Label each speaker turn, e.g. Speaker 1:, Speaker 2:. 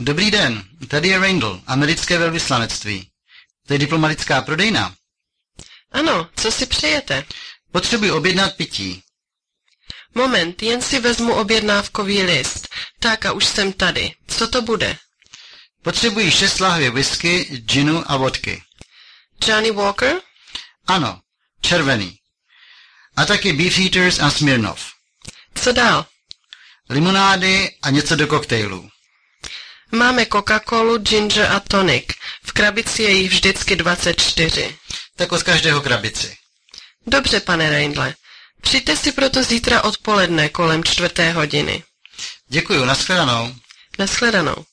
Speaker 1: Dobrý den, tady je Randall, americké velvyslanectví. To je diplomatická prodejna.
Speaker 2: Ano, co si přejete?
Speaker 1: Potřebuji objednat pití.
Speaker 2: Moment, jen si vezmu objednávkový list. Tak a už jsem tady. Co to bude?
Speaker 1: Potřebuji šest lahvě whisky, ginu a vodky.
Speaker 2: Johnny Walker?
Speaker 1: Ano, červený. A taky Beefeaters a Smirnov.
Speaker 2: Co dál?
Speaker 1: Limonády a něco do koktejlů.
Speaker 2: Máme Coca-Colu, ginger a tonic. V krabici je jich vždycky 24.
Speaker 1: Tak od každého krabici.
Speaker 2: Dobře, pane Reindle. Přijďte si proto zítra odpoledne kolem čtvrté hodiny.
Speaker 1: Děkuji, nashledanou.
Speaker 2: Nashledanou.